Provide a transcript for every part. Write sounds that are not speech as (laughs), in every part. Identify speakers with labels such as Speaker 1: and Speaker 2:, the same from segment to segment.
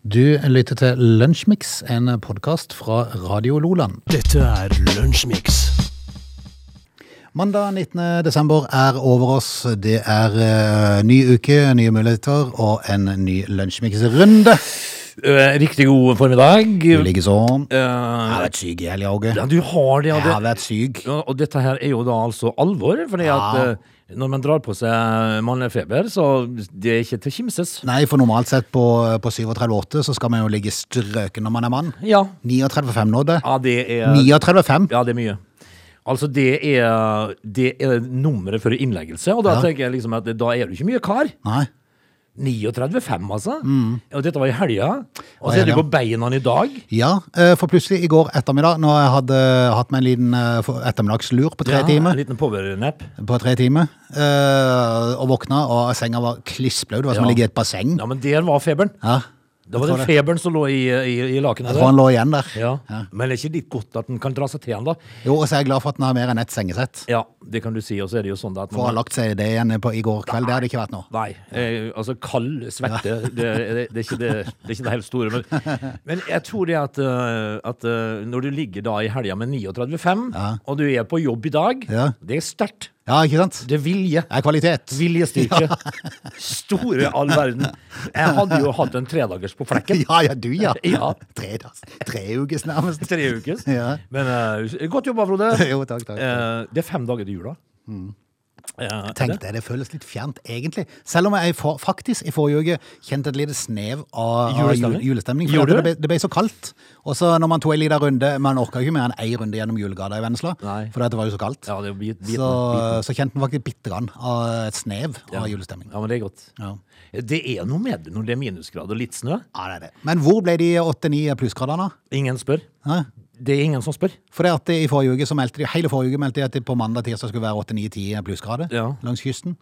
Speaker 1: Du lytter til Lunsjmix, en podkast fra Radio Loland.
Speaker 2: Dette er Lunsjmix.
Speaker 1: Mandag 19. desember er over oss. Det er eh, ny uke, nye muligheter og en ny Lunsjmix-runde.
Speaker 3: Eh, Riktig god formiddag.
Speaker 1: Du ligger sånn.
Speaker 3: Eh,
Speaker 1: Jeg har vært syk i helga, Åge.
Speaker 3: ja, du har det, ja.
Speaker 1: Jeg har
Speaker 3: det.
Speaker 1: vært syk.
Speaker 3: Ja, Og dette her er jo da altså alvor, fordi at
Speaker 1: Ja.
Speaker 3: eh, når man drar på seg mannefeber, så det er ikke til å kimses.
Speaker 1: Nei, for normalt sett på, på 37-8 så skal man jo ligge strøken når man er mann.
Speaker 3: Ja.
Speaker 1: 39,5 nådde.
Speaker 3: ja, det er
Speaker 1: 39,5.
Speaker 3: Ja, det er mye. Altså, det er, det er nummeret for innleggelse, og da
Speaker 1: Ja.
Speaker 3: tenker jeg liksom at da er du ikke mye kar.
Speaker 1: Nei.
Speaker 3: 39,5, altså.
Speaker 1: Mm.
Speaker 3: Og dette var i helga. Og
Speaker 1: Og
Speaker 3: så er du
Speaker 1: helga.
Speaker 3: på beina i dag.
Speaker 1: Ja, eh, for plutselig i går ettermiddag, når jeg hadde hatt meg en liten eh, for- ettermiddagslur på tre
Speaker 3: Ja,
Speaker 1: timer
Speaker 3: En liten powernap.
Speaker 1: på tre timer. eh, og våkna, og senga var klissblau. Det var som å
Speaker 3: Ja.
Speaker 1: ligge i et basseng.
Speaker 3: Ja, men der var feberen.
Speaker 1: Ja.
Speaker 3: Det var den
Speaker 1: det.
Speaker 3: feberen som lå i, i, i lakenet.
Speaker 1: Jeg
Speaker 3: der.
Speaker 1: tror han lå igjen der.
Speaker 3: Ja. Men det er ikke litt godt at den kan dra seg til den, da.
Speaker 1: Jo, og så er jeg glad for at han har mer enn ett sengesett.
Speaker 3: Ja, det kan du si. Og så er det jo sånn da at
Speaker 1: For å ha lagt seg i det igjen på, i går kveld, det hadde ikke vært noe.
Speaker 3: Nei. Eh, altså kald svette, det, det, det, er ikke det, det er ikke det helt store.
Speaker 1: (laughs)
Speaker 3: Men, men jeg tror det at, eh, at eh, når du ligger da i helga med 39,5,
Speaker 1: Ja.
Speaker 3: og du er på jobb i dag,
Speaker 1: Ja.
Speaker 3: det er sterkt.
Speaker 1: Ja, ikke sant?
Speaker 3: Det er vilje.
Speaker 1: Det er kvalitet.
Speaker 3: Viljestyrke. Store all verden. Jeg hadde jo hatt en tredagers på flekken.
Speaker 1: (laughs) Ja, ja, du, ja.
Speaker 3: (laughs) Ja.
Speaker 1: Tre, dags- tre ukes
Speaker 3: (laughs)
Speaker 1: nærmest.
Speaker 3: Tre ukers.
Speaker 1: Ja.
Speaker 3: Men eh, godt jobba, Frode.
Speaker 1: (laughs) Jo, takk, Mm. takk.
Speaker 3: Eh, det er fem dager til jula. Eh,
Speaker 1: Tenk deg, det føles litt fjernt, egentlig. Selv om jeg for, faktisk i forrige uke kjente et lite snev av av
Speaker 3: Julestemning?
Speaker 1: jul- julestemning. For
Speaker 3: Gjorde
Speaker 1: at det,
Speaker 3: du?
Speaker 1: ble, det ble så kaldt. Og så når man tok en liten runde Man orka ikke mer enn én runde gjennom julegata i Vennesla,
Speaker 3: Nei.
Speaker 1: for det var jo så kaldt.
Speaker 3: Ja, det er bit, biten,
Speaker 1: så,
Speaker 3: biten.
Speaker 1: så kjente man faktisk bitte grann av et snev av julestemning.
Speaker 3: Ja, men det er godt.
Speaker 1: Ja.
Speaker 3: Det er noe med det når det er minusgrad og litt snø.
Speaker 1: Ja, det er det. Men hvor ble de åtte-ni plussgradene?
Speaker 3: Ingen spør.
Speaker 1: Hæ?
Speaker 3: Det er ingen som spør.
Speaker 1: For det at i forrige uke så meldte de, hele forrige uke meldte de at det på mandag tirsdag skulle være åtte-ni-ti plussgrader
Speaker 3: Ja.
Speaker 1: langs kysten.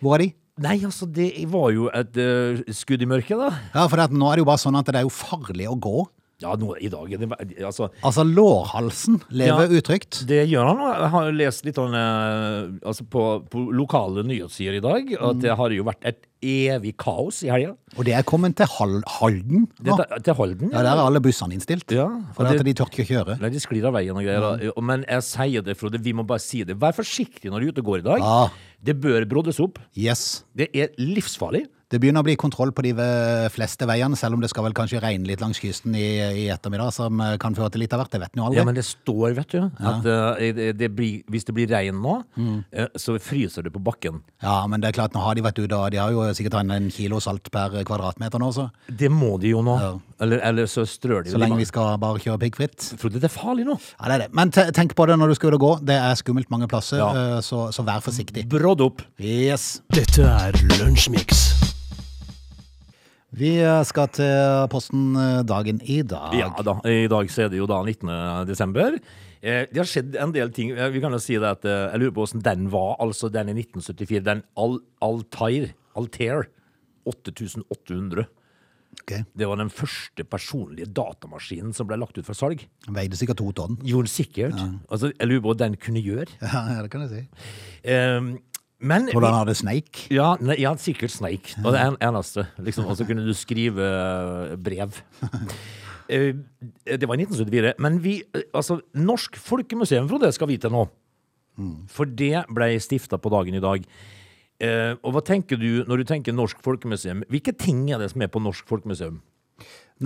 Speaker 1: Hvor er de?
Speaker 3: Nei, altså, det var jo et eh, skudd i mørket, da.
Speaker 1: Ja, for det at nå er det jo bare sånn at det er jo farlig å gå.
Speaker 3: Ja, nå, i dag er det Altså,
Speaker 1: Altså, lårhalsen lever
Speaker 3: Ja.
Speaker 1: utrygt.
Speaker 3: det gjør han. og Jeg har lest litt om eh, Altså, på, på lokale nyhetssider i dag at det har jo vært et evig kaos i helga.
Speaker 1: Og det er kommet til Hal Halden nå.
Speaker 3: Det- Til Halden.
Speaker 1: Ja, der er alle bussene innstilt.
Speaker 3: Ja,
Speaker 1: For
Speaker 3: og
Speaker 1: det at
Speaker 3: det-
Speaker 1: de tør ikke kjøre.
Speaker 3: Nei, de sklir av veien og greier. da. Og- Men jeg sier det, Frode, vi må bare si det. Vær forsiktig når du er ute og går i dag.
Speaker 1: Ja.
Speaker 3: Det bør broddes opp.
Speaker 1: Yes.
Speaker 3: Det er livsfarlig.
Speaker 1: Det begynner å bli kontroll på de ve- fleste veiene, selv om det skal vel kanskje regne litt langs kysten i, i ettermiddag, som eh, kan føre til litt av hvert. Det vet en jo aldri.
Speaker 3: Ja, men det står, vet du, at eh, det- det blir, hvis det blir regn nå, eh, så fryser det på bakken.
Speaker 1: det er klart, nå har de vært ute, og de har jo sikkert en en kilo salt per kvadratmeter nå, så
Speaker 3: Det må de jo nå.
Speaker 1: Ja.
Speaker 3: Eller, eller så strør de.
Speaker 1: så lenge vi skal bare kjøre piggfritt.
Speaker 3: Frode, det er farlig nå.
Speaker 1: Ja, det er det. Men te tenk på det når du skal ut og gå. Det er skummelt mange plasser,
Speaker 3: Ja.
Speaker 1: eh, så, så vær forsiktig.
Speaker 3: Brådd opp.
Speaker 1: Yes.
Speaker 2: Dette er Lunsjmix.
Speaker 1: Vi eh, skal til posten eh, dagen i dag.
Speaker 3: Ja da. I dag så er det jo da 19. desember. Eh, det har skjedd en del ting. Eh, Vi kan jo si det at eh, jeg lurer på hvordan den var, altså den i 1974. Den Al Altair. Altair. 8800.
Speaker 1: Ok.
Speaker 3: Det var den første personlige datamaskinen som ble lagt ut for salg.
Speaker 1: Veide sikkert to tonn. (laughs)
Speaker 3: Jo, sikkert. Altså, jeg lurer på hva den kunne gjøre.
Speaker 1: Ja, det kan jeg si.
Speaker 3: Ehm, men
Speaker 1: Hvordan hadde sneik?
Speaker 3: ja, nei, ja, sikkert Snake. Og det er en- eneste. Liksom, og så kunne du skrive eh,
Speaker 1: (laughs)
Speaker 3: brev. Eh, Det var i 1974. Men vi, eh, altså, Norsk Folkemuseum, Frode, skal vite nå.
Speaker 1: Mm.
Speaker 3: For det ble stifta på dagen i dag. Eh, og hva tenker du når du tenker Norsk Folkemuseum? Hvilke ting er det som er på Norsk Folkemuseum?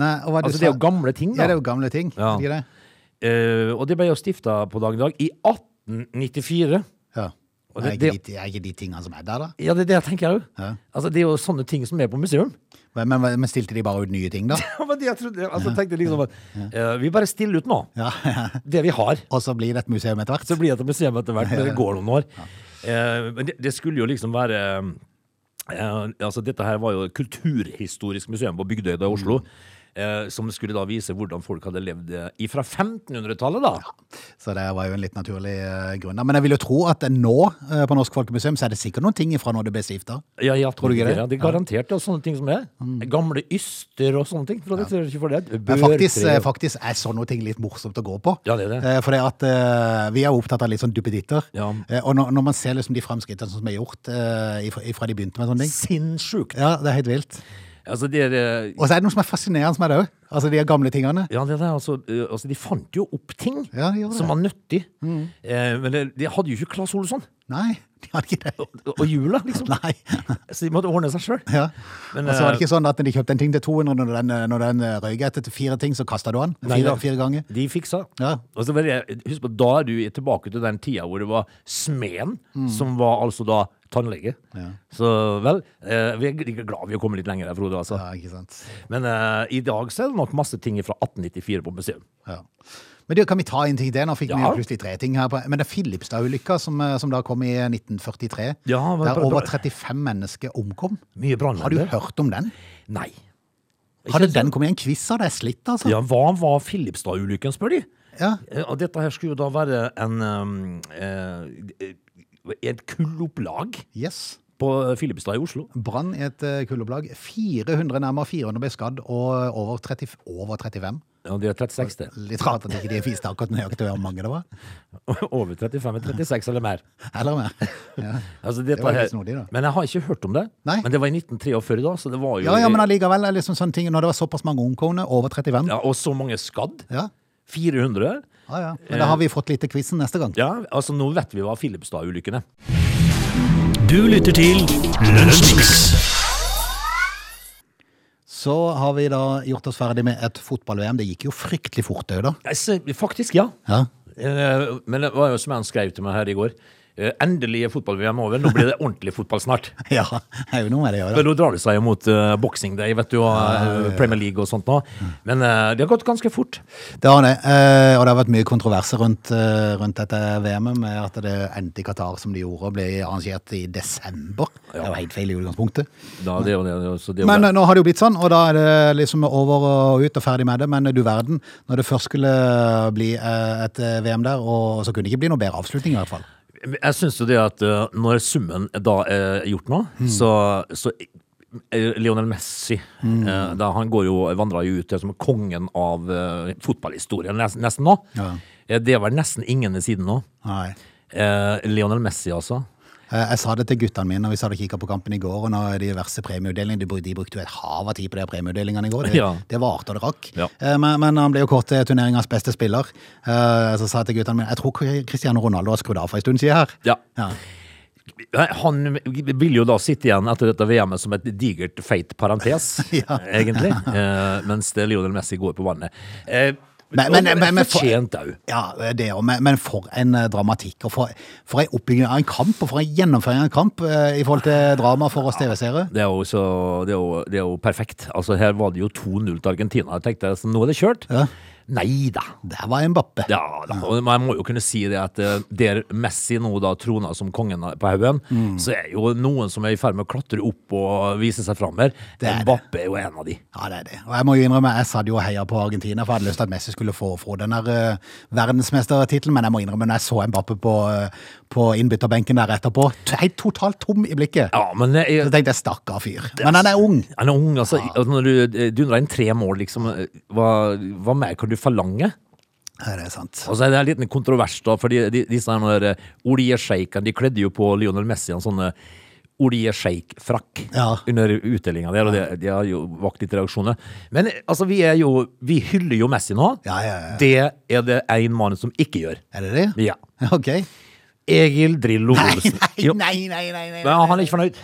Speaker 1: Nei, og hva
Speaker 3: Altså,
Speaker 1: du
Speaker 3: det
Speaker 1: sa-
Speaker 3: er jo gamle ting,
Speaker 1: Ja, det
Speaker 3: da.
Speaker 1: er jo gamle ting.
Speaker 3: Ja.
Speaker 1: er det ikke det?
Speaker 3: Eh, og det ble jo stifta på dagen i dag, i 1894.
Speaker 1: Ja.
Speaker 3: Og
Speaker 1: Det,
Speaker 3: det-
Speaker 1: er, ikke de, er ikke de tingene som er der, da?
Speaker 3: Ja, det er det jeg tenker jeg òg.
Speaker 1: Ja.
Speaker 3: Altså, det er jo sånne ting som er på museum. (laughs)
Speaker 1: Men, men, men stilte de bare ut nye ting, da?
Speaker 3: Ja, men det jeg trodde, altså tenkte jeg liksom at eh, Vi bare stiller ut nå
Speaker 1: Ja.
Speaker 3: Det vi har
Speaker 1: Og så blir det et museum etter hvert?
Speaker 3: Så blir det et museum etter hvert Men det går noen år Eh, Men det, det skulle jo liksom være eh, Altså dette her var jo et kulturhistorisk museum På Bygdøyda i
Speaker 1: Mm.
Speaker 3: Oslo eh, Som skulle da vise hvordan folk hadde levd eh, Fra 1500-tallet da
Speaker 1: Så det var jo en litt naturlig eh, grunn. da. Men jeg vil jo tro at nå eh, på Norsk Folkemuseum så er det sikkert noen ting ifra når det ble stifta.
Speaker 3: Ja, ja tror
Speaker 1: du ikke det?
Speaker 3: Det er garantert og sånne ting som er Gamle yster og sånne ting Tror du ikke for det?
Speaker 1: Men faktisk,
Speaker 3: Børtre.
Speaker 1: eh, faktisk er sånne ting litt morsomt å gå på.
Speaker 3: Ja, det er det.
Speaker 1: Eh, For det at eh, vi er jo opptatt av litt sånn duppeditter.
Speaker 3: Ja.
Speaker 1: Eh, Og når, når man ser liksom de fremskrittene som er gjort eh, ifra, ifra de begynte med sånne ting
Speaker 3: Sinnssykt
Speaker 1: Ja, det er helt vilt.
Speaker 3: Altså, det er eh,
Speaker 1: Og så er det noe som er fascinerende med det òg. Altså de gamle tingene.
Speaker 3: Ja, det der, altså, eh, altså, de fant jo opp ting
Speaker 1: Ja, de gjorde
Speaker 3: som
Speaker 1: det. Mm.
Speaker 3: var nyttig. Eh, men det- de hadde jo ikke Claes Olsson
Speaker 1: Nei, de hadde ikke
Speaker 3: (laughs)
Speaker 1: det.
Speaker 3: og, og jula, liksom.
Speaker 1: Nei.
Speaker 3: Så de måtte ordne seg sjøl.
Speaker 1: Ja.
Speaker 3: Men,
Speaker 1: Og så var
Speaker 3: eh,
Speaker 1: det ikke sånn at de kjøpte en ting til 200, når den, når den eh, røyk etter til fire ting, så kasta du den
Speaker 3: Nei,
Speaker 1: fire,
Speaker 3: da.
Speaker 1: fire ganger.
Speaker 3: De fiksa.
Speaker 1: Ja.
Speaker 3: Og så var det, husk på, da er du tilbake til den tida hvor det var smeden
Speaker 1: Mm.
Speaker 3: som var altså da tannlege. Så vel, eh, vi er glad vi har kommet litt lenger der, Frode. Altså.
Speaker 1: Ja, ikke sant.
Speaker 3: Men eh, i dag så er det nok masse ting fra 1894 på museum.
Speaker 1: Ja. Men du, kan vi ta en ting til? Nå fikk vi
Speaker 3: Ja.
Speaker 1: jo plutselig tre ting her. På. Men det er Filipstad-ulykka som, eh, som da kom i 1943,
Speaker 3: Ja, men-
Speaker 1: der over 35 mennesker omkom.
Speaker 3: Mye
Speaker 1: Har du
Speaker 3: brannvenner.
Speaker 1: hørt om den?
Speaker 3: Nei.
Speaker 1: Hadde den kommet i en quiz, hadde jeg slitt, altså.
Speaker 3: Ja, hva var Filipstad-ulykken, spør de.
Speaker 1: Ja.
Speaker 3: Eh, Og dette her skulle jo da være en um, eh, eh, et kullopplag
Speaker 1: Yes.
Speaker 3: på Filipstad i Oslo.
Speaker 1: Brann i et eh, kuldeopplag. 400, nærmere 400 ble skadd, og eh, over, 30, over 35.
Speaker 3: Ja, det er 36, det.
Speaker 1: Litt rart at ikke de viste akkurat nøyaktig hvor mange det var.
Speaker 3: (laughs) Over 35 er 36 eller mer.
Speaker 1: Eller mer. Ja,
Speaker 3: Altså, dette
Speaker 1: var litt
Speaker 3: her-
Speaker 1: snodig, da.
Speaker 3: Men jeg har ikke hørt om det.
Speaker 1: Nei.
Speaker 3: Men det var i 1943, da, så det var jo
Speaker 1: ja, ja men allikevel, er liksom sånne ting, når det var såpass mange omkomne, over 35.
Speaker 3: Ja, Og så mange skadd.
Speaker 1: Ja.
Speaker 3: 400.
Speaker 1: Ja, ja. Men da har vi fått litt til quizen neste gang.
Speaker 3: Eh. Ja, altså nå vet vi hva Filipstad-ulykken er.
Speaker 2: Du lytter til Lunsjmix.
Speaker 1: Så har vi da gjort oss ferdig med et fotball-VM. Det gikk jo fryktelig fort, det, da.
Speaker 3: Nei, se, Faktisk, ja.
Speaker 1: Ja. (laughs)
Speaker 3: Eh, Men det var jo som han skrev til meg her i går. eh, Endelig er fotball-VM over. Nå blir det ordentlig fotball snart.
Speaker 1: ja, det er jo noe med det å gjøre.
Speaker 3: Men nå drar det seg jo mot uh, boksing day, vet du, og eh, Premier League og sånt nå. Men eh, det har gått ganske fort.
Speaker 1: Det har det. Eh, og det har vært mye kontroverser rundt, eh, rundt dette VM-et, med at det endte i Qatar som det gjorde, og ble arrangert i desember. Det var helt feil i utgangspunktet.
Speaker 3: Da, det, er jo- det, er jo- så det, er jo
Speaker 1: Men
Speaker 3: bra.
Speaker 1: eh, nå har det jo blitt sånn, og da er det liksom over og ut og ferdig med det. Men eh, du verden, når det først skulle bli eh, et eh, VM der, og så kunne det ikke bli noe bedre avslutning i hvert fall.
Speaker 3: jeg syns jo det at eh, når summen da er gjort nå, så, så eh, Lionel Messi eh, da Han går jo, vandrer jo ut til som kongen av eh, fotballhistorien nes- nesten nå.
Speaker 1: Ja.
Speaker 3: Eh, Det var nesten ingen ved siden nå.
Speaker 1: Nei.
Speaker 3: Eh, Lionel Messi, altså.
Speaker 1: Eh, Jeg sa det til guttene mine når vi satt og kikka på kampen i går. og når diverse premieutdelingene, De brukte, de brukte jo et hav av tid på de her premieutdelingene i går. Det,
Speaker 3: Ja.
Speaker 1: det varte og det rakk.
Speaker 3: Ja.
Speaker 1: Eh, Men, men han ble jo kåret til turneringens beste spiller. Eh, Så sa jeg til guttene mine jeg tror Cristiano Ronaldo har skrudd av for en stund siden her.
Speaker 3: Ja.
Speaker 1: Ja.
Speaker 3: Nei, Han vil jo da sitte igjen etter dette VM-et som et digert, feit parentes,
Speaker 1: (laughs) Ja.
Speaker 3: egentlig. Eh, mens det Lionel Messi går på vannet. Eh,
Speaker 1: Men- men-
Speaker 3: og
Speaker 1: men- men-
Speaker 3: fortjent òg.
Speaker 1: Ja, det òg, men, men for en eh, dramatikk. Og for, for en oppbygging av en kamp, og for en gjennomføring av en kamp eh, i forhold til drama for oss TV-seere.
Speaker 3: Det er, jo så, det, er jo, det er jo perfekt. Altså Her var det jo 2-0 til Argentina. Jeg tenkte så nå er det kjørt.
Speaker 1: Ja.
Speaker 3: Nei da.
Speaker 1: Der var Mbappe.
Speaker 3: Ja, da. Og man må jo kunne si det at eh, der Messi nå da troner som kongen på haugen,
Speaker 1: Mm.
Speaker 3: så er jo noen som er i ferd med å klatre opp og vise seg fram her.
Speaker 1: Det er det.
Speaker 3: Mbappe er jo en av de.
Speaker 1: Ja, det er det. Og jeg må jo innrømme, jeg satt jo og heia på Argentina, for jeg hadde lyst til at Messi skulle få, få den der eh, verdensmestertittelen, men jeg må innrømme, når jeg så Mbappe på, eh, på innbytterbenken der etterpå, t- helt totalt tom i blikket,
Speaker 3: Ja, men eh, det
Speaker 1: så
Speaker 3: er,
Speaker 1: tenkte jeg, stakkar fyr. Men han er ung.
Speaker 3: han er ung, altså. Og Når du eh, dundrer inn tre mål, liksom, eh, hva, hva mer kan du forlange?
Speaker 1: Ja, det er sant.
Speaker 3: Og så er det en liten kontrovers, da, fordi de, disse her noen der, eh, Olie Sheikene, de kledde jo på Lionel Messi en sånn eh, Olie Sheik-frakk
Speaker 1: Ja.
Speaker 3: under utdelinga der, og det, det har jo vakt litt reaksjoner. Men eh, altså, vi er jo Vi hyller jo Messi nå.
Speaker 1: Ja, ja, ja.
Speaker 3: Det er det én mann som ikke gjør.
Speaker 1: Er det det?
Speaker 3: Ja.
Speaker 1: (laughs) Ok.
Speaker 3: Egil Drillo
Speaker 1: Nei,
Speaker 3: Olsen.
Speaker 1: nei,
Speaker 3: Jo.
Speaker 1: nei, nei, nei, nei.
Speaker 3: Men han er ikke fornøyd.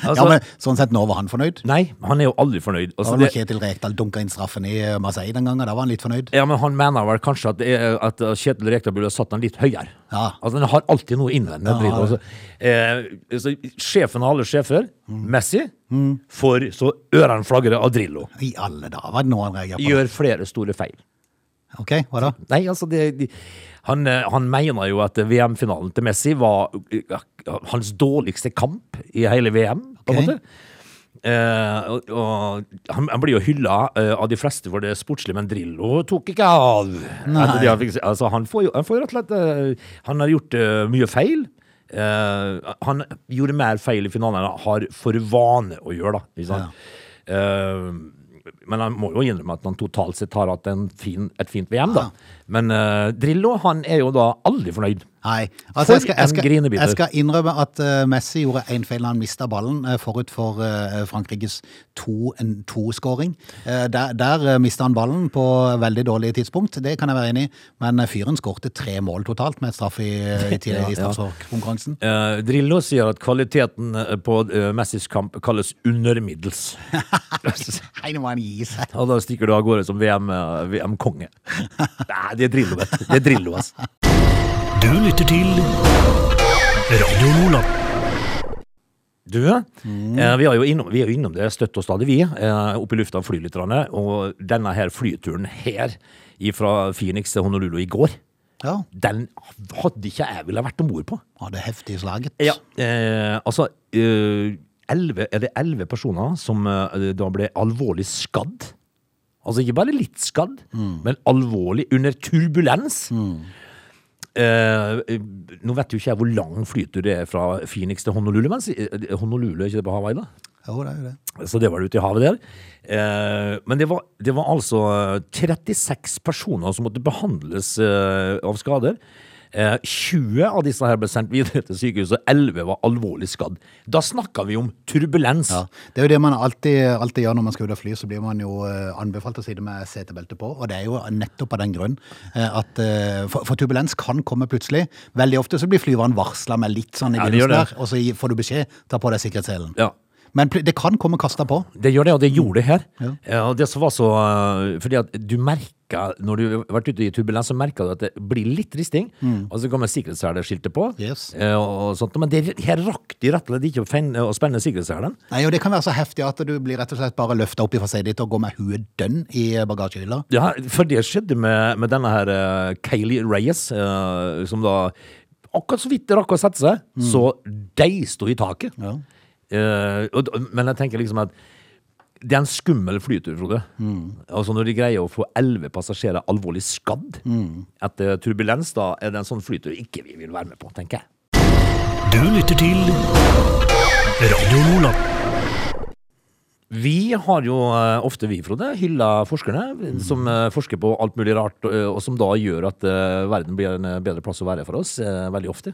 Speaker 3: Altså,
Speaker 1: Ja, men sånn sett, nå var han fornøyd.
Speaker 3: Nei, han er jo aldri fornøyd.
Speaker 1: Da
Speaker 3: Altså,
Speaker 1: var det
Speaker 3: det,
Speaker 1: Kjetil Rekdal dunket inn straffen i eh, Marseille den gangen, da var han litt fornøyd.
Speaker 3: ja, men han mener vel kanskje at, det er- at Kjetil Rekdal burde ha satt den litt høyere.
Speaker 1: Ja.
Speaker 3: Altså, Den har alltid noe innvendig. dritt, altså. eh, så sjefen av alle sjefer,
Speaker 1: Mm.
Speaker 3: Messi, for så ørene flagrer av Drillo.
Speaker 1: I alle dager, var det nå han reagerer på?
Speaker 3: Gjør flere store feil.
Speaker 1: det? Ok, hva da?
Speaker 3: Nei, altså det, de, han, eh, han mener jo at VM-finalen til Messi var eh, hans dårligste kamp i hele VM, på en
Speaker 1: Ok.
Speaker 3: måte. Eh, og, og han, han blir jo hylla eh, av de fleste for det sportslige, men Drillo tok ikke av. Etter det han, fikk, se. altså, han, får jo, han får jo rett og slett eh, Han har gjort eh, mye feil. Eh, han gjorde mer feil i finalen enn han har for vane å gjøre, da. Ikke sant? Eh, men han må jo innrømme at han totalt sett har hatt en fin, et fint VM, da. Men eh, Drillo han er jo da aldri fornøyd.
Speaker 1: Nei.
Speaker 3: For
Speaker 1: Altså, jeg, skal,
Speaker 3: en
Speaker 1: jeg, skal,
Speaker 3: grinebiter.
Speaker 1: jeg skal innrømme at eh, Messi gjorde én feil da han mista ballen eh, forut for eh, Frankrikes to- en to-skåring. Eh, der der eh, mista han ballen på veldig dårlig tidspunkt, det kan jeg være enig i, men eh, fyren skårte tre mål totalt med et straff i,
Speaker 3: (laughs)
Speaker 1: i, i,
Speaker 3: Ja, ja.
Speaker 1: i straffekonkurransen. (laughs)
Speaker 3: Eh, Drillo sier at kvaliteten eh, på eh, Messis kamp kalles undermiddels.
Speaker 1: Nei, nå må han gi seg.
Speaker 3: Og da stikker du av gårde som VM-konge. Nei, det er Drillo, vet du. Det er Drillo, altså.
Speaker 2: Du lytter til Radio Nordland.
Speaker 3: Du, eh, vi, er jo innom, vi er jo innom det støtt og stadig, vi. Eh, oppe i lufta og flyr litt. grann, Og denne her flyturen her fra Phoenix til Honolulu i går,
Speaker 1: Ja,
Speaker 3: den hadde ikke jeg ville vært om bord på.
Speaker 1: han hadde heftig slaget.
Speaker 3: Eh, altså, eh, 11, er det elleve personer som eh, da ble alvorlig skadd? Altså ikke bare litt skadd, men alvorlig under turbulens. Eh, eh, nå vet jo ikke jeg hvor lang flytur det er fra Phoenix til Honolulu. Men, si- eh, Honolulu, er ikke det på Hawaii, da?
Speaker 1: Jo, det er jo det.
Speaker 3: Så det var det ute i havet der. Eh, men det var, det var altså eh, 36 personer som måtte behandles eh, av skader. Eh, 20 av disse her ble sendt videre til sykehuset, 11 var alvorlig skadd. Da snakka vi om turbulens.
Speaker 1: Ja, Det er jo det man alltid, alltid gjør når man skal ut og fly, så blir man jo eh, anbefalt å sitte med setebelte på. Og det er jo nettopp av den grunn eh, at eh, For, for turbulens kan komme plutselig. Veldig ofte så blir flyveren varsla med litt sånn i
Speaker 3: Ja, det gjør
Speaker 1: begynnelsen
Speaker 3: det.
Speaker 1: der, og så gi- får du beskjed ta på deg sikkerhetsselen.
Speaker 3: Ja.
Speaker 1: Men pl- det kan komme kasta på.
Speaker 3: Det gjør det, og det gjorde det her.
Speaker 1: Mm. Ja.
Speaker 3: Eh, og det som var så eh, Fordi at du merka, når du har vært ute i turbulens, så merka du at det blir litt risting. Og så kommer sikkerhetsselskiltet på,
Speaker 1: Mm. Yes.
Speaker 3: eh, og sånt, men det, her rakk de rett og slett ikke å, fenne, å spenne sikkerhetsselen.
Speaker 1: Nei, og Det kan være så heftig at du blir rett og slett bare løfta opp i setet ditt og går med huet dønn i bagasjehylla.
Speaker 3: Ja, for det skjedde med, med denne her eh, Kaylee Reyes, eh, som da akkurat så vidt rakk å sette seg, så de sto i taket.
Speaker 1: Ja.
Speaker 3: Eh, og, d- men jeg tenker liksom at det er en skummel flytur, Frode. Altså når de greier å få elleve passasjerer alvorlig skadd etter turbulens, da er det en sånn flytur ikke vi vil være med på, tenker jeg.
Speaker 2: Du lytter til Radio Nordland.
Speaker 3: Vi har jo eh, ofte, vi Frode, hylla forskerne som eh, forsker på alt mulig rart, eh, og som da gjør at eh, verden blir en eh, bedre plass å være for oss, eh, veldig ofte.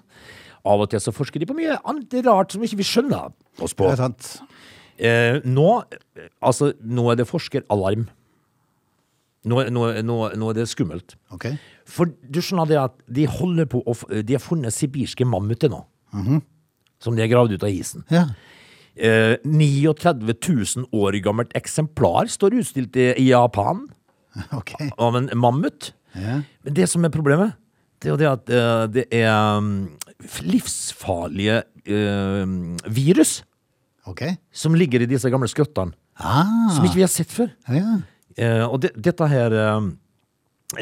Speaker 3: Av og til så forsker de på mye annet rart som ikke vi skjønner oss på.
Speaker 1: Det er sant.
Speaker 3: Eh, nå, eh, altså, nå er det forskeralarm. Nå, er- nå, er- nå, er- nå er det skummelt.
Speaker 1: Ok.
Speaker 3: For du skjønner det at de holder på å f- De har funnet sibirske mammuter nå. Som de har gravd ut av isen.
Speaker 1: Ja. (laughs)
Speaker 3: Eh, 39 000 år gammelt eksemplar står utstilt i i Japan
Speaker 1: ok.
Speaker 3: av en mammut.
Speaker 1: Ja.
Speaker 3: Men det som er problemet, det er jo det at eh, det er mm, livsfarlige eh, virus
Speaker 1: Ok.
Speaker 3: som ligger i disse gamle skrottene,
Speaker 1: Ah,
Speaker 3: som ikke vi har sett før.
Speaker 1: ja.
Speaker 3: Eh, og det, dette her eh,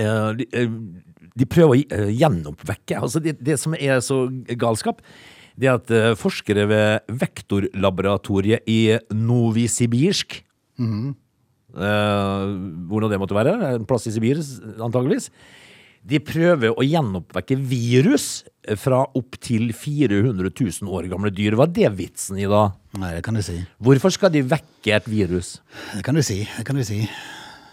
Speaker 3: eh, de, eh, de prøver å eh, gjenoppvekke. Altså det, det som er så galskap, det er at eh, forskere ved Vektorlaboratoriet i Novisibirsk eh, Hvordan det måtte være, en plass i Sibir s- antageligvis. De prøver å gjenoppvekke virus fra opptil 400 000 år gamle dyr. Hva er det vitsen i da?
Speaker 1: Nei, det kan du si.
Speaker 3: Hvorfor skal de vekke et virus?
Speaker 1: Det kan du si. Det kan du si.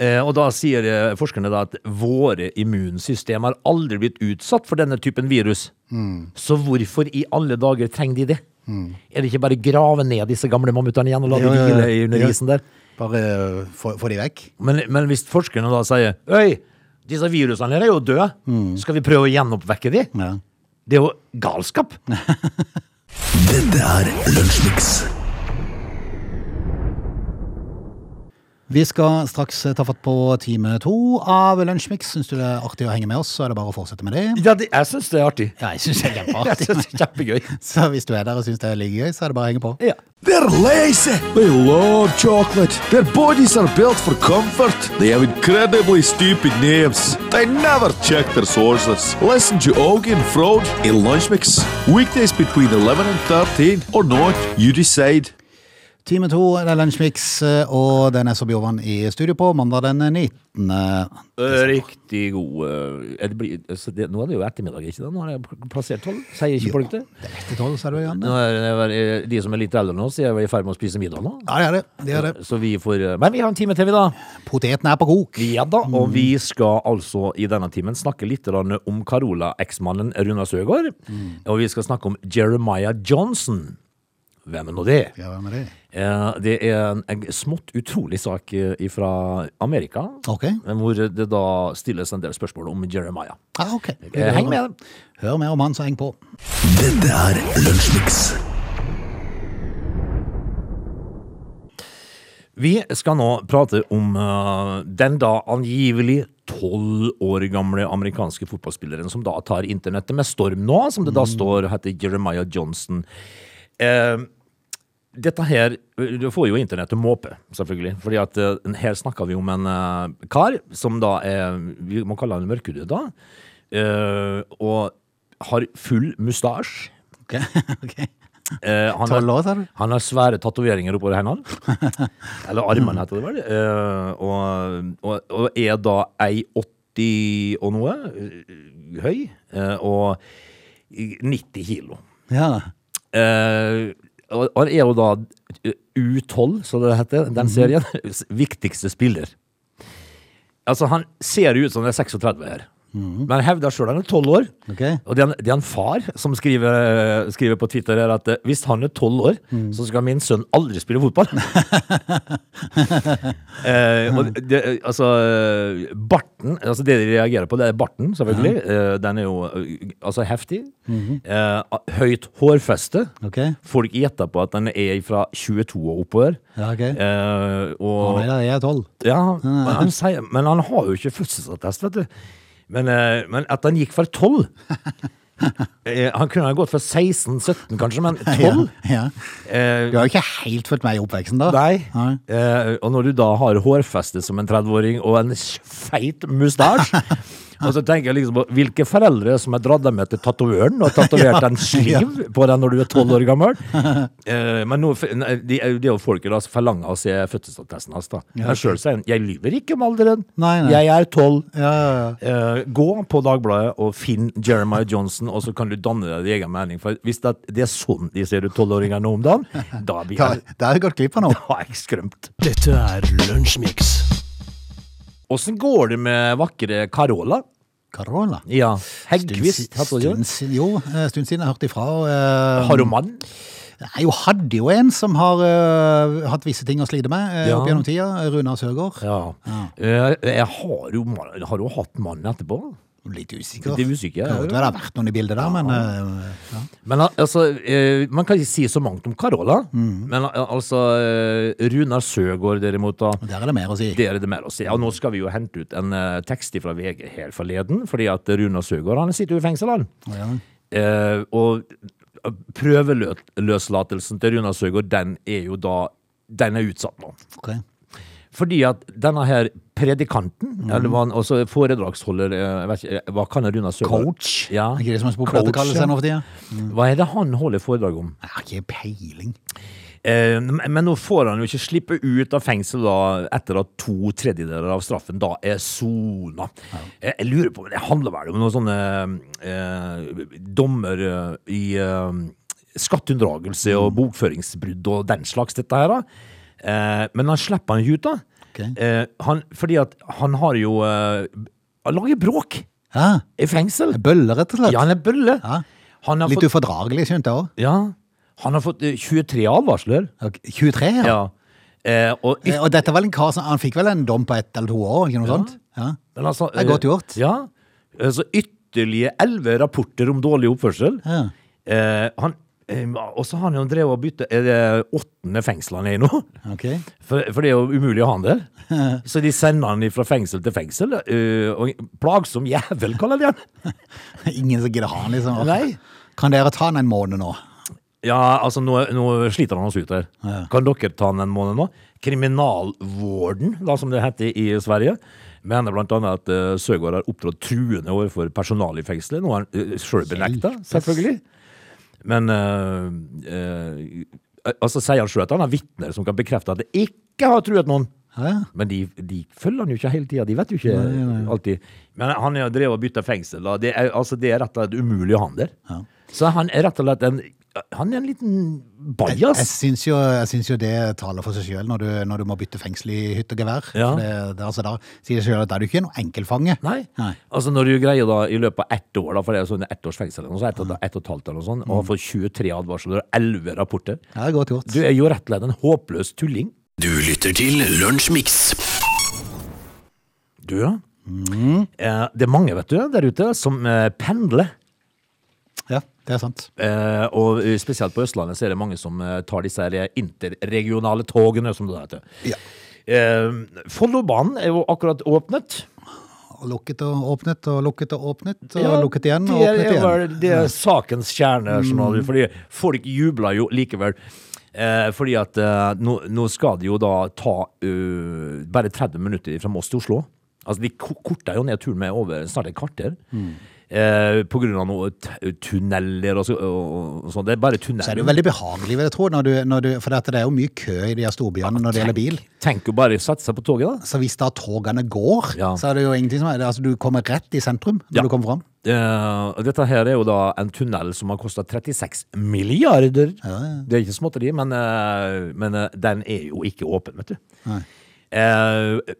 Speaker 3: Eh, Og da sier eh, forskerne da at våre immunsystem har aldri blitt utsatt for denne typen virus.
Speaker 1: Mm.
Speaker 3: Så hvorfor i alle dager trenger de det? Er det ikke bare grave ned disse gamle mammutene igjen og la dem
Speaker 1: Ja, ja, ja.
Speaker 3: hvile i under
Speaker 1: Ja.
Speaker 3: isen der?
Speaker 1: Bare eh, få få de vekk.
Speaker 3: Men, men hvis forskerne da sier Øy, disse virusene her er jo døde,
Speaker 1: Mm.
Speaker 3: skal vi prøve å gjenoppvekke de?
Speaker 1: Ja.
Speaker 3: Det er jo
Speaker 1: (laughs)
Speaker 3: galskap!
Speaker 2: Dette er Lunsjmix.
Speaker 1: Vi skal straks ta fatt på time to av Lunsjmix. Syns du det er artig å henge med oss, så er det bare å fortsette med det.
Speaker 3: Ja, det, jeg syns det er artig.
Speaker 1: (laughs) Ja, jeg syns det er
Speaker 3: Jeg
Speaker 1: kjempeartig.
Speaker 3: synes det er Kjempegøy.
Speaker 1: Så hvis du er der og syns det er like gøy, så er det bare å henge på.
Speaker 3: Ja.
Speaker 4: They're lazy. They love chocolate. Their bodies are built for comfort. They have incredibly stupid names. They never check their sources. Listen to Augie and Frode in Lunch Mix Weekdays between 11 and 13 or not, you decide.
Speaker 1: Time to, det er Lunsjmix, eh, og den er så Bjovan i studio på mandag den 19.
Speaker 3: Riktig god eh, er det bli, altså det, Nå er det jo ettermiddag, ikke det? Nå har jeg pl- plassert tolv. Sier ikke folk det?
Speaker 1: Det er etter tolv, sa du, Jan.
Speaker 3: Nå er det, vel- de som er litt eldre nå, så er vel i ferd med å spise middag nå.
Speaker 1: Ja, det er det. det, er det.
Speaker 3: Så vi får eh, Men vi har en time til, vi, da. Mm.
Speaker 1: Poteten er på kok.
Speaker 3: Ja da, og vi skal altså i denne timen snakke litt grann om Carola-eksmannen Runa Søgaard. Og vi skal snakke om Jeremiah Johnson. Hvem er nå det?
Speaker 1: Ja, hvem er det?
Speaker 3: Eh, Det er en- en smått utrolig sak fra Amerika,
Speaker 1: Ok.
Speaker 3: hvor det da stilles en del spørsmål om Jeremiah.
Speaker 1: Ah, ok.
Speaker 3: Eh, Heng med.
Speaker 1: Hør mer om han, så heng på.
Speaker 2: Dette er Lunsjmix.
Speaker 3: Vi skal nå prate om eh, den da angivelig tolv år gamle amerikanske fotballspilleren som da tar internettet med storm nå, som det da står heter Jeremiah Johnson. Eh, dette her Du får jo internett til måpe, selvfølgelig. Fordi at eh, her snakker vi om en eh, kar som da er Vi må kalle han mørkhudet, da. eh, og har full mustasje.
Speaker 1: Ok, (laughs) ok.
Speaker 3: Eh, han,
Speaker 1: Tolv år, sa
Speaker 3: har,
Speaker 1: du?
Speaker 3: han har svære tatoveringer oppover hendene.
Speaker 1: (laughs)
Speaker 3: Eller armene, heter det vel. Eh, og, og, og er da ei 80 og noe eh, høy. eh, og 90 kilo.
Speaker 1: Ja.
Speaker 3: Eh, og og han er jo da eh, U12, som det heter, den
Speaker 1: Mhm.
Speaker 3: serien. (laughs) Viktigste spiller. Altså, han ser jo ut som han er 36 her.
Speaker 1: Mhm.
Speaker 3: Men han hevder sjøl han er 12 år.
Speaker 1: Ok.
Speaker 3: Og det er, en, det er en far som skriver, skriver på Twitter her at eh, hvis han er 12 år,
Speaker 1: Mm.
Speaker 3: så skal min sønn aldri spille
Speaker 1: (laughs)
Speaker 3: fotball. eh, og det, altså, eh, barten altså Det de reagerer på, det er barten, selvfølgelig. Eh, den er jo eh, altså heftig. eh, høyt hårfeste.
Speaker 1: Mhm. Ok.
Speaker 3: Folk gjetter på at den er fra 22 og oppover.
Speaker 1: Ja, ok.
Speaker 3: Eh, og,
Speaker 1: Nei, da, jeg er tolv.
Speaker 3: ja, men han, sier, men han har jo ikke fødselsattest, vet du. Men, eh, men at han gikk for (laughs) 12 eh, Han kunne ha gått for 16-17, kanskje, men 12?
Speaker 1: Ja.
Speaker 3: Eh,
Speaker 1: Du har jo ikke helt fulgt med i oppveksten, da.
Speaker 3: Nei.
Speaker 1: Nei.
Speaker 3: Eh, og når du da har hårfeste som en 30-åring og en s- feit
Speaker 1: (laughs)
Speaker 3: mustasje Og så tenker jeg liksom på hvilke foreldre som har dratt deg med til tatovøren og
Speaker 1: (laughs)
Speaker 3: tatovert en sliv på deg når du er 12 år gammel. Eh, men nå, f- nei, de, det er jo folk da som forlanger å se fødselsattesten hans. da. Men sjøl sier han 'jeg lyver ikke om alderen,
Speaker 1: Nei, nei.
Speaker 3: jeg er 12'.
Speaker 1: Ja, ja, ja.
Speaker 3: Eh, gå på Dagbladet og finn Jeremiah Johnson, og så kan du danne deg din egen mening. For hvis det, det er sånn de ser ut 12-åringer nå om dagen, da blir
Speaker 1: Da,
Speaker 3: jeg, (laughs)
Speaker 1: da har jeg gått glipp av noe.
Speaker 3: da er jeg skrømt.
Speaker 2: Dette er Lunsjmix.
Speaker 3: Åssen går det med vakre Carola?
Speaker 1: Carola.
Speaker 3: Ja,
Speaker 1: Stund
Speaker 3: Heggkvist.
Speaker 1: si-
Speaker 3: hatt og gjort.
Speaker 1: stund si- Jo, eh, stund siden jeg hørte ifra. og, eh,
Speaker 3: Har hun mann?
Speaker 1: Nei, hun hadde jo en som har eh, hatt visse ting å slite med eh,
Speaker 3: Ja.
Speaker 1: opp gjennom tida. Runar Søgaard.
Speaker 3: Ja. Eh, Jeg har, jo, mann- har hun hatt mann etterpå?
Speaker 1: Litt usikker.
Speaker 3: Litt usikker,
Speaker 1: Kan
Speaker 3: ja.
Speaker 1: godt være det har vært noen i bildet der, men eh, ja.
Speaker 3: Men al- altså, eh, Man kan ikke si så mangt om Carola, men al- altså eh, Runar Søgaard derimot, da.
Speaker 1: der er det mer å si.
Speaker 3: Det er det mer å si. Og nå skal vi jo hente ut en eh, tekst fra VG her forleden, fordi at Runar Søgaard han sitter jo i fengsel, han.
Speaker 1: Ja.
Speaker 3: Eh, og prøveløslatelsen til Runar Søgaard, den er jo da Den er utsatt nå.
Speaker 1: ok.
Speaker 3: Fordi at denne her predikanten,
Speaker 1: Mhm.
Speaker 3: eller hva han, også foredragsholder, eh, jeg vet ikke, eh, hva kan Runa Søgaard?
Speaker 1: Coach?
Speaker 3: Ja.
Speaker 1: Er Ikke det som er så populært å
Speaker 3: Coach,
Speaker 1: kalle
Speaker 3: ja.
Speaker 1: seg nå for tida?
Speaker 3: Hva er det han holder foredrag om?
Speaker 1: Jeg har ikke peiling.
Speaker 3: Eh, men nå får han jo ikke slippe ut av fengsel da, etter at to tredjedeler av straffen da er sona. Eh, Jeg lurer på, det handler vel om noen sånne eh, dommer eh, i eh, skatteunndragelse
Speaker 1: Mm.
Speaker 3: og bokføringsbrudd og den slags dette her da. Eh, men han slipper han jo ut da.
Speaker 1: Ok.
Speaker 3: Eh, han, fordi at han har jo eh, Han lager bråk
Speaker 1: Ja,
Speaker 3: i fengsel.
Speaker 1: Bøller, rett og slett.
Speaker 3: Ja, han er bølle.
Speaker 1: Ja.
Speaker 3: Han har
Speaker 1: Litt
Speaker 3: fått,
Speaker 1: ufordragelig, skjønte jeg òg.
Speaker 3: ja, han har fått eh, 23 advarsler.
Speaker 1: Ok, 23, ja.
Speaker 3: Ja. Eh, og
Speaker 1: Eh, Og dette var en kar som Han fikk vel en dom på ett eller to år, ikke noe sånt? Ja.
Speaker 3: Men altså,
Speaker 1: Det er godt gjort.
Speaker 3: Ja. Eh, Så ytterligere elleve rapporter om dårlig oppførsel.
Speaker 1: Ja.
Speaker 3: Eh, han, eh, og så har han jo drevet og bytta Er det åttende fengsel han er i nå? (laughs)
Speaker 1: Ok. (laughs)
Speaker 3: For, for det er jo umulig å ha han der. Så de sender han fra fengsel til fengsel. eh, og plagsom jævel, kaller de han.
Speaker 1: Ingen som gidder ha han, liksom.
Speaker 3: Nei.
Speaker 1: Kan dere ta han en måned nå?
Speaker 3: Ja, altså, nå, nå sliter han oss ut her.
Speaker 1: Ja.
Speaker 3: Kan dere ta han en måned nå? Kriminalvården, da, som det heter i Sverige, mener blant annet at uh, Søgaard har opptrådt truende overfor personalet i fengselet. Noe han uh, sjøl benekta, selvfølgelig. Men eh, eh, eh, altså sier han sjøl at han har vitner som kan bekrefte at det ikke har truet noen.
Speaker 1: Ja.
Speaker 3: Men de, de følger han jo ikke hele tida. De vet jo ikke alltid. Men han er jo drevet og bytta fengsel. Da. Det, er, altså, det er rett og slett umulig å ha han der. Så han er rett og slett en Han er en liten
Speaker 1: Jeg
Speaker 3: bajas.
Speaker 1: syns jo, jeg syns jo det taler for seg sjøl når, du- når du må bytte fengsel i hytt og gevær.
Speaker 3: Ja.
Speaker 1: For Det, det, altså, da sier det sjøl at da er du ikke noen enkelfange.
Speaker 3: Nei. Altså Når du greier da i løpet av ett år, da, for det er sånn ett års fengsel eller noe sånt, ett og, ett og et halvt eller noe sånt, og har fått 23 advarsler og 11 rapporter
Speaker 1: Ja, det er godt gjort.
Speaker 3: Du er jo rett og slett en håpløs tulling.
Speaker 2: Du lytter til Lunsjmix.
Speaker 3: Du, ja. Eh, det er mange, vet du, der ute som eh, pendler.
Speaker 1: Ja, det er sant.
Speaker 3: Eh, og eh, spesielt på Østlandet så er det mange som eh, tar disse her interregionale togene, som det heter.
Speaker 1: Ja.
Speaker 3: Eh, Follobanen er jo akkurat åpnet.
Speaker 1: Og lukket og åpnet og lukket og åpnet og
Speaker 3: Ja,
Speaker 1: lukket igjen og
Speaker 3: det er-
Speaker 1: åpnet
Speaker 3: er
Speaker 1: igjen. Mm.
Speaker 3: vel- Det er sakens kjerne, skjønner du, fordi folk jubler jo likevel. Eh, fordi at eh, nå, nå skal det jo da ta eh, bare 30 minutter fra Moss til Oslo. Altså, de ko- korter jo ned turen med over snart et kvarter.
Speaker 1: Mm.
Speaker 3: Eh, på grunn av noen t tunneler og, så, og, og sånn. Det er bare tunneler.
Speaker 1: Så er det jo veldig behagelig, vil jeg tro, når du, når du, for dette, det er jo mye kø i de her storbyene når det gjelder bil.
Speaker 3: Tenk å bare sette seg på toget, da.
Speaker 1: Så hvis da togene går,
Speaker 3: Ja.
Speaker 1: så er det jo ingenting som er Altså, du kommer rett i sentrum når
Speaker 3: Ja.
Speaker 1: du kommer fram.
Speaker 3: Eh, og dette her er jo da en tunnel som har kosta 36 milliarder. Det er ikke småtteri, men, eh, men eh, den er jo ikke åpen, vet du. Eh,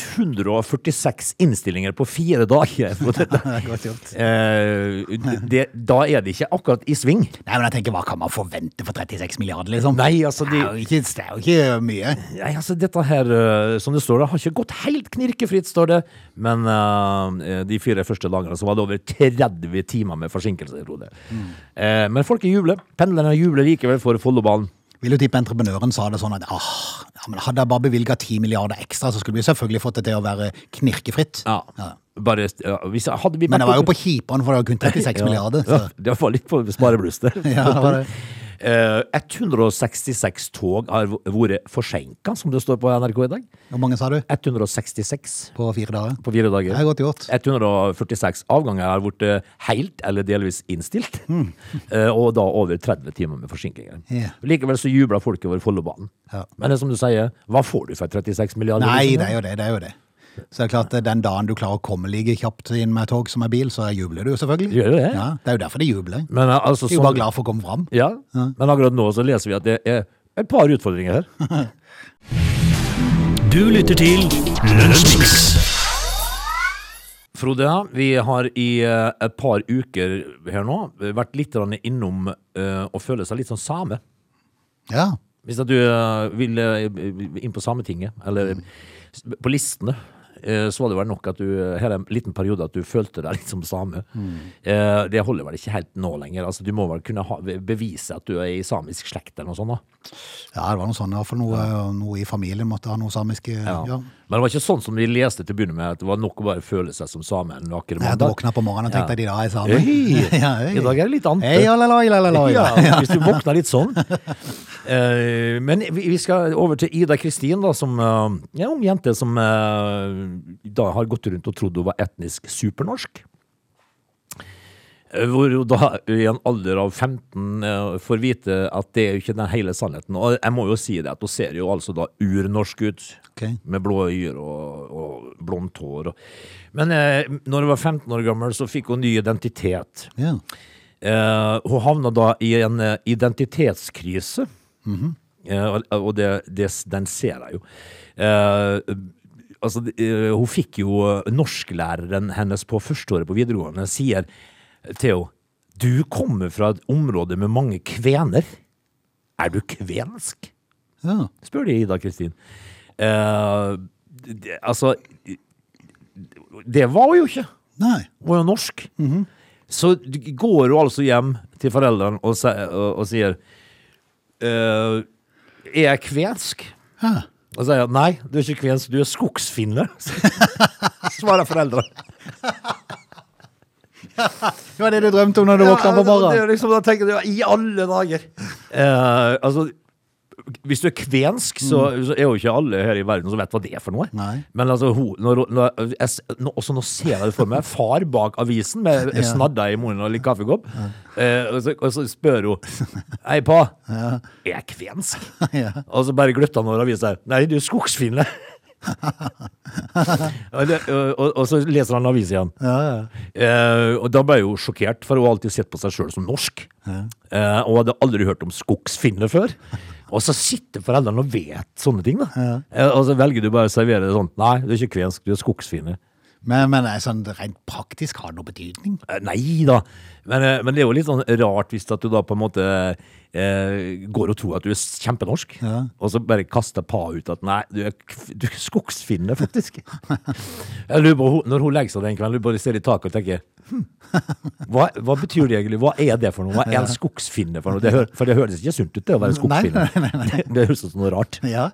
Speaker 3: 146 innstillinger på fire dager. for dette.
Speaker 1: Godt gjort.
Speaker 3: Eh, det, da er det ikke akkurat i sving.
Speaker 1: Nei, men jeg tenker, hva kan man forvente for 36 milliarder, liksom?
Speaker 3: Nei, altså, de-
Speaker 1: det, er jo ikke, det er jo ikke mye.
Speaker 3: Nei, altså dette her, eh, som det står, det har ikke gått helt knirkefritt, står det. Men eh, de fire første dagene så var det over 30 timer med forsinkelse, Frode. Eh, men folk jubler. Pendlerne jubler likevel for Follobanen.
Speaker 1: Vil du tippe entreprenøren sa det sånn at ah, ja, men hadde jeg bare bevilga 10 milliarder ekstra, så skulle vi selvfølgelig fått det til å være knirkefritt. Ja.
Speaker 3: Bare, ja, hvis, jeg- hadde vi
Speaker 1: Men
Speaker 3: vært
Speaker 1: det var jo
Speaker 3: oppe-
Speaker 1: på kjipene, for det var kun 36 milliarder.
Speaker 3: (laughs) Ja,
Speaker 1: Så.
Speaker 3: det var litt på sparebluss der.
Speaker 1: (laughs) Ja, det var det.
Speaker 3: Eh, 166 tog har v- vært forsinka, som det står på NRK i dag.
Speaker 1: Hvor mange sa du?
Speaker 3: 166
Speaker 1: På fire dager?
Speaker 3: på fire dager.
Speaker 1: Det er godt gjort.
Speaker 3: 146 avganger har blitt eh, helt eller delvis innstilt, (laughs) Eh, og da over 30 timer med forsinkinger.
Speaker 1: Hmm. Ja.
Speaker 3: Likevel så jubler folk over Follobanen.
Speaker 1: Ja.
Speaker 3: Men det er som du sier, hva får du for 36 milliarder?
Speaker 1: Nei, det er jo det. det er jo det. Så det er klart, eh, den dagen du klarer å komme like kjapt inn med tog som er bil, så jubler du jo selvfølgelig.
Speaker 3: Gjør du det?
Speaker 1: Ja, det er jo derfor de jubler.
Speaker 3: Men, eh, altså,
Speaker 1: De er jo
Speaker 3: sånn-
Speaker 1: bare glad for å komme fram.
Speaker 3: Ja, men akkurat nå så leser vi at det er et par
Speaker 1: (laughs)
Speaker 3: utfordringer her.
Speaker 2: Du lytter til Lunsjmix.
Speaker 3: Frode, vi har i eh, et par uker her nå vært litt grann innom eh, å føle seg litt som same.
Speaker 1: Ja.
Speaker 3: Hvis at du eh, vil eh, inn på Sametinget, eller s- på listene, eh, så var det vel nok at du eh, her er en liten periode at du følte deg litt som same. Eh, Det holder vel ikke helt nå lenger. Altså, du må vel kunne ha, bevise at du er i samisk slekt eller noe sånt. da.
Speaker 1: ja, det var noe sånn. Iallfall noe, noe i familien måtte ha noe samisk eh,
Speaker 3: Ja.
Speaker 1: ja.
Speaker 3: Men det var ikke sånn som vi leste til å begynne med, at det var nok å bare føle seg som same en vakker
Speaker 1: Jeg hadde våkna på morgenen og tenkte
Speaker 3: Ja.
Speaker 1: at i dag er sammen.
Speaker 3: Hei!
Speaker 1: (laughs) Ja, hei.
Speaker 3: I dag er det litt ante.
Speaker 1: Hei, alaloi, alaloi.
Speaker 3: Ja, hvis du våkner litt sånn. Eh, men vi, vi skal over til Ida Kristin, da, som eh, er en ung jente som eh, da har gått rundt og trodd hun var etnisk supernorsk. Eh, Hvor hun da i en alder av 15 eh, får vite at det er jo ikke den hele sannheten. Og jeg må jo si det at hun ser jo altså da urnorsk ut.
Speaker 1: Ok.
Speaker 3: Med blå øyer og, og blondt hår. Og. Men eh, når hun var 15 år gammel, så fikk hun ny identitet.
Speaker 1: Ja.
Speaker 3: Eh, hun havna da i en eh, identitetskrise. Eh, og- og det, det, den ser jeg jo. Eh, altså, eh, hun fikk jo Norsklæreren hennes på førsteåret på videregående sier til henne Du kommer fra et område med mange kvener. Er du kvensk?
Speaker 1: Ja.
Speaker 3: spør de Ida Kristin. Eh, det, altså Det var hun jo ikke.
Speaker 1: Nei.
Speaker 3: Hun er jo norsk. Så d- går hun altså hjem til foreldrene og, se- og, og sier «Eh, Er jeg kvensk?
Speaker 1: Ja.
Speaker 3: Og sier jeg, nei, du er ikke kvensk, du er skogsfinne. (laughs) Svarer foreldrene.
Speaker 1: Det var det sånn, du drømte om når du våkna på
Speaker 3: Ja, det
Speaker 1: morgenen.
Speaker 3: er liksom, da tenker du, I alle dager! Eh, altså, Hvis du er kvensk, så, så er jo ikke alle her i verden som vet hva det er for noe.
Speaker 1: Mm. Nei.
Speaker 3: Men altså, ho, når, når, jeg, s- nå, også nå ser jeg det for meg. Far bak avisen med
Speaker 1: Ja.
Speaker 3: snadda i munnen og litt kaffekopp. Eh, og, så, og så spør hun Hei, pa. Er jeg kvensk?
Speaker 1: Ja.
Speaker 3: (laughs) Og så bare gløtta han over avisa. Nei, du er skogsfinne. og, det, og, og så leser han avisa igjen. Eh, og da ble jeg jo sjokkert, for hun har alltid sett på seg sjøl som norsk. Eh, og hadde aldri hørt om skogsfinne før. Og så sitter foreldrene og vet sånne ting, da. Eh, og så velger du bare å servere det sånn. Nei, du er ikke kvensk, du er skogsfinne.
Speaker 1: Men, men er sånn, rent praktisk har det noe betydning?
Speaker 3: Eh, Nei da, men, eh, men det er jo litt sånn rart hvis at du da på en måte eh, går og tror at du er kjempenorsk, og så bare kaster pa ut at nei, du er, kf- du er skogsfinne, faktisk. Jeg lurer på, hun- når hun legger seg den kvelden, lurer på, ser i taket og tenker hm, hva, hva betyr det egentlig? Hva er det for noe? Hva er en skogsfinne for noe? Det hø- for det høres ikke sunt ut, det å være
Speaker 1: Nei,
Speaker 3: skogsfinne. Det, (laughs) det høres ut som noe rart.
Speaker 1: (laughs) Ja.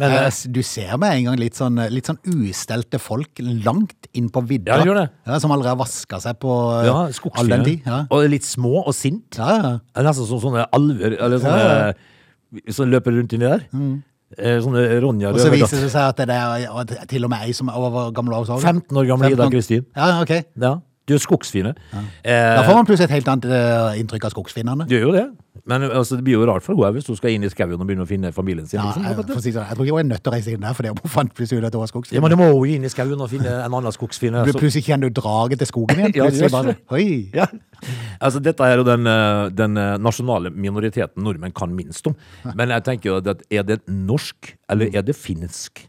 Speaker 3: Men,
Speaker 1: Eh,
Speaker 3: eh,
Speaker 1: s- du ser med en gang litt sånn, litt sånn ustelte folk langt inn på vidda.
Speaker 3: Ja, det gjør det.
Speaker 1: Ja, som allerede har vaska seg på eh,
Speaker 3: Ja,
Speaker 1: all
Speaker 3: skogsfinne.
Speaker 1: den tid. Ja.
Speaker 3: Og litt små og sint.
Speaker 1: Ja, ja.
Speaker 3: Det er Nesten som sånne alver eller sånne, som løper rundt inni der. Eh, Sånne
Speaker 1: Mm.
Speaker 3: Ronja
Speaker 1: Og så
Speaker 3: Røverdatter.
Speaker 1: viser det seg at det er og det er til og med ei som er over gammel år.
Speaker 3: 15 år gamle Ida Kristin.
Speaker 1: Ja, ok.
Speaker 3: Ja. Du er skogsfine. Eh,
Speaker 1: Da får man plutselig et helt annet eh, inntrykk av skogsfinnene.
Speaker 3: Du gjør jo det. Men altså, det blir jo rart for henne hvis hun skal inn i skauen og begynne å finne familien sin.
Speaker 1: Ja,
Speaker 3: liksom.
Speaker 1: jeg, for å si det sånn, jeg tror ikke hun er nødt til å reise inn der, for det hun fant plutselig ut at hun var
Speaker 3: ja,
Speaker 1: skogsfinne.
Speaker 3: men det må hun jo inn i skauen og finne en annen skogsfine.
Speaker 1: Du
Speaker 3: så-
Speaker 1: plutselig kjenner du draget til
Speaker 3: (laughs)
Speaker 1: skogen igjen.
Speaker 3: Ja,
Speaker 1: Plutselig
Speaker 3: det gjør
Speaker 1: bare,
Speaker 3: det.
Speaker 1: Oi.
Speaker 3: (laughs) Ja. Altså, dette er jo den, eh, den eh, nasjonale minoriteten nordmenn kan minst om. Men jeg tenker jo at er det norsk, eller er det finsk?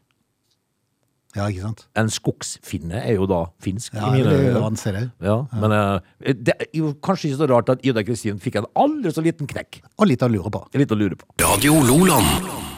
Speaker 1: Ja, ikke sant?
Speaker 3: En skogsfinne er jo da finsk.
Speaker 1: Ja,
Speaker 3: i mine
Speaker 1: det er
Speaker 3: øyne.
Speaker 1: jo anser det.
Speaker 3: Ja, men eh, det er jo kanskje ikke så rart at Ida Kristin fikk en aldri så liten knekk.
Speaker 1: Og litt å lure på.
Speaker 3: Det er Litt å lure på.
Speaker 2: Radio Loland.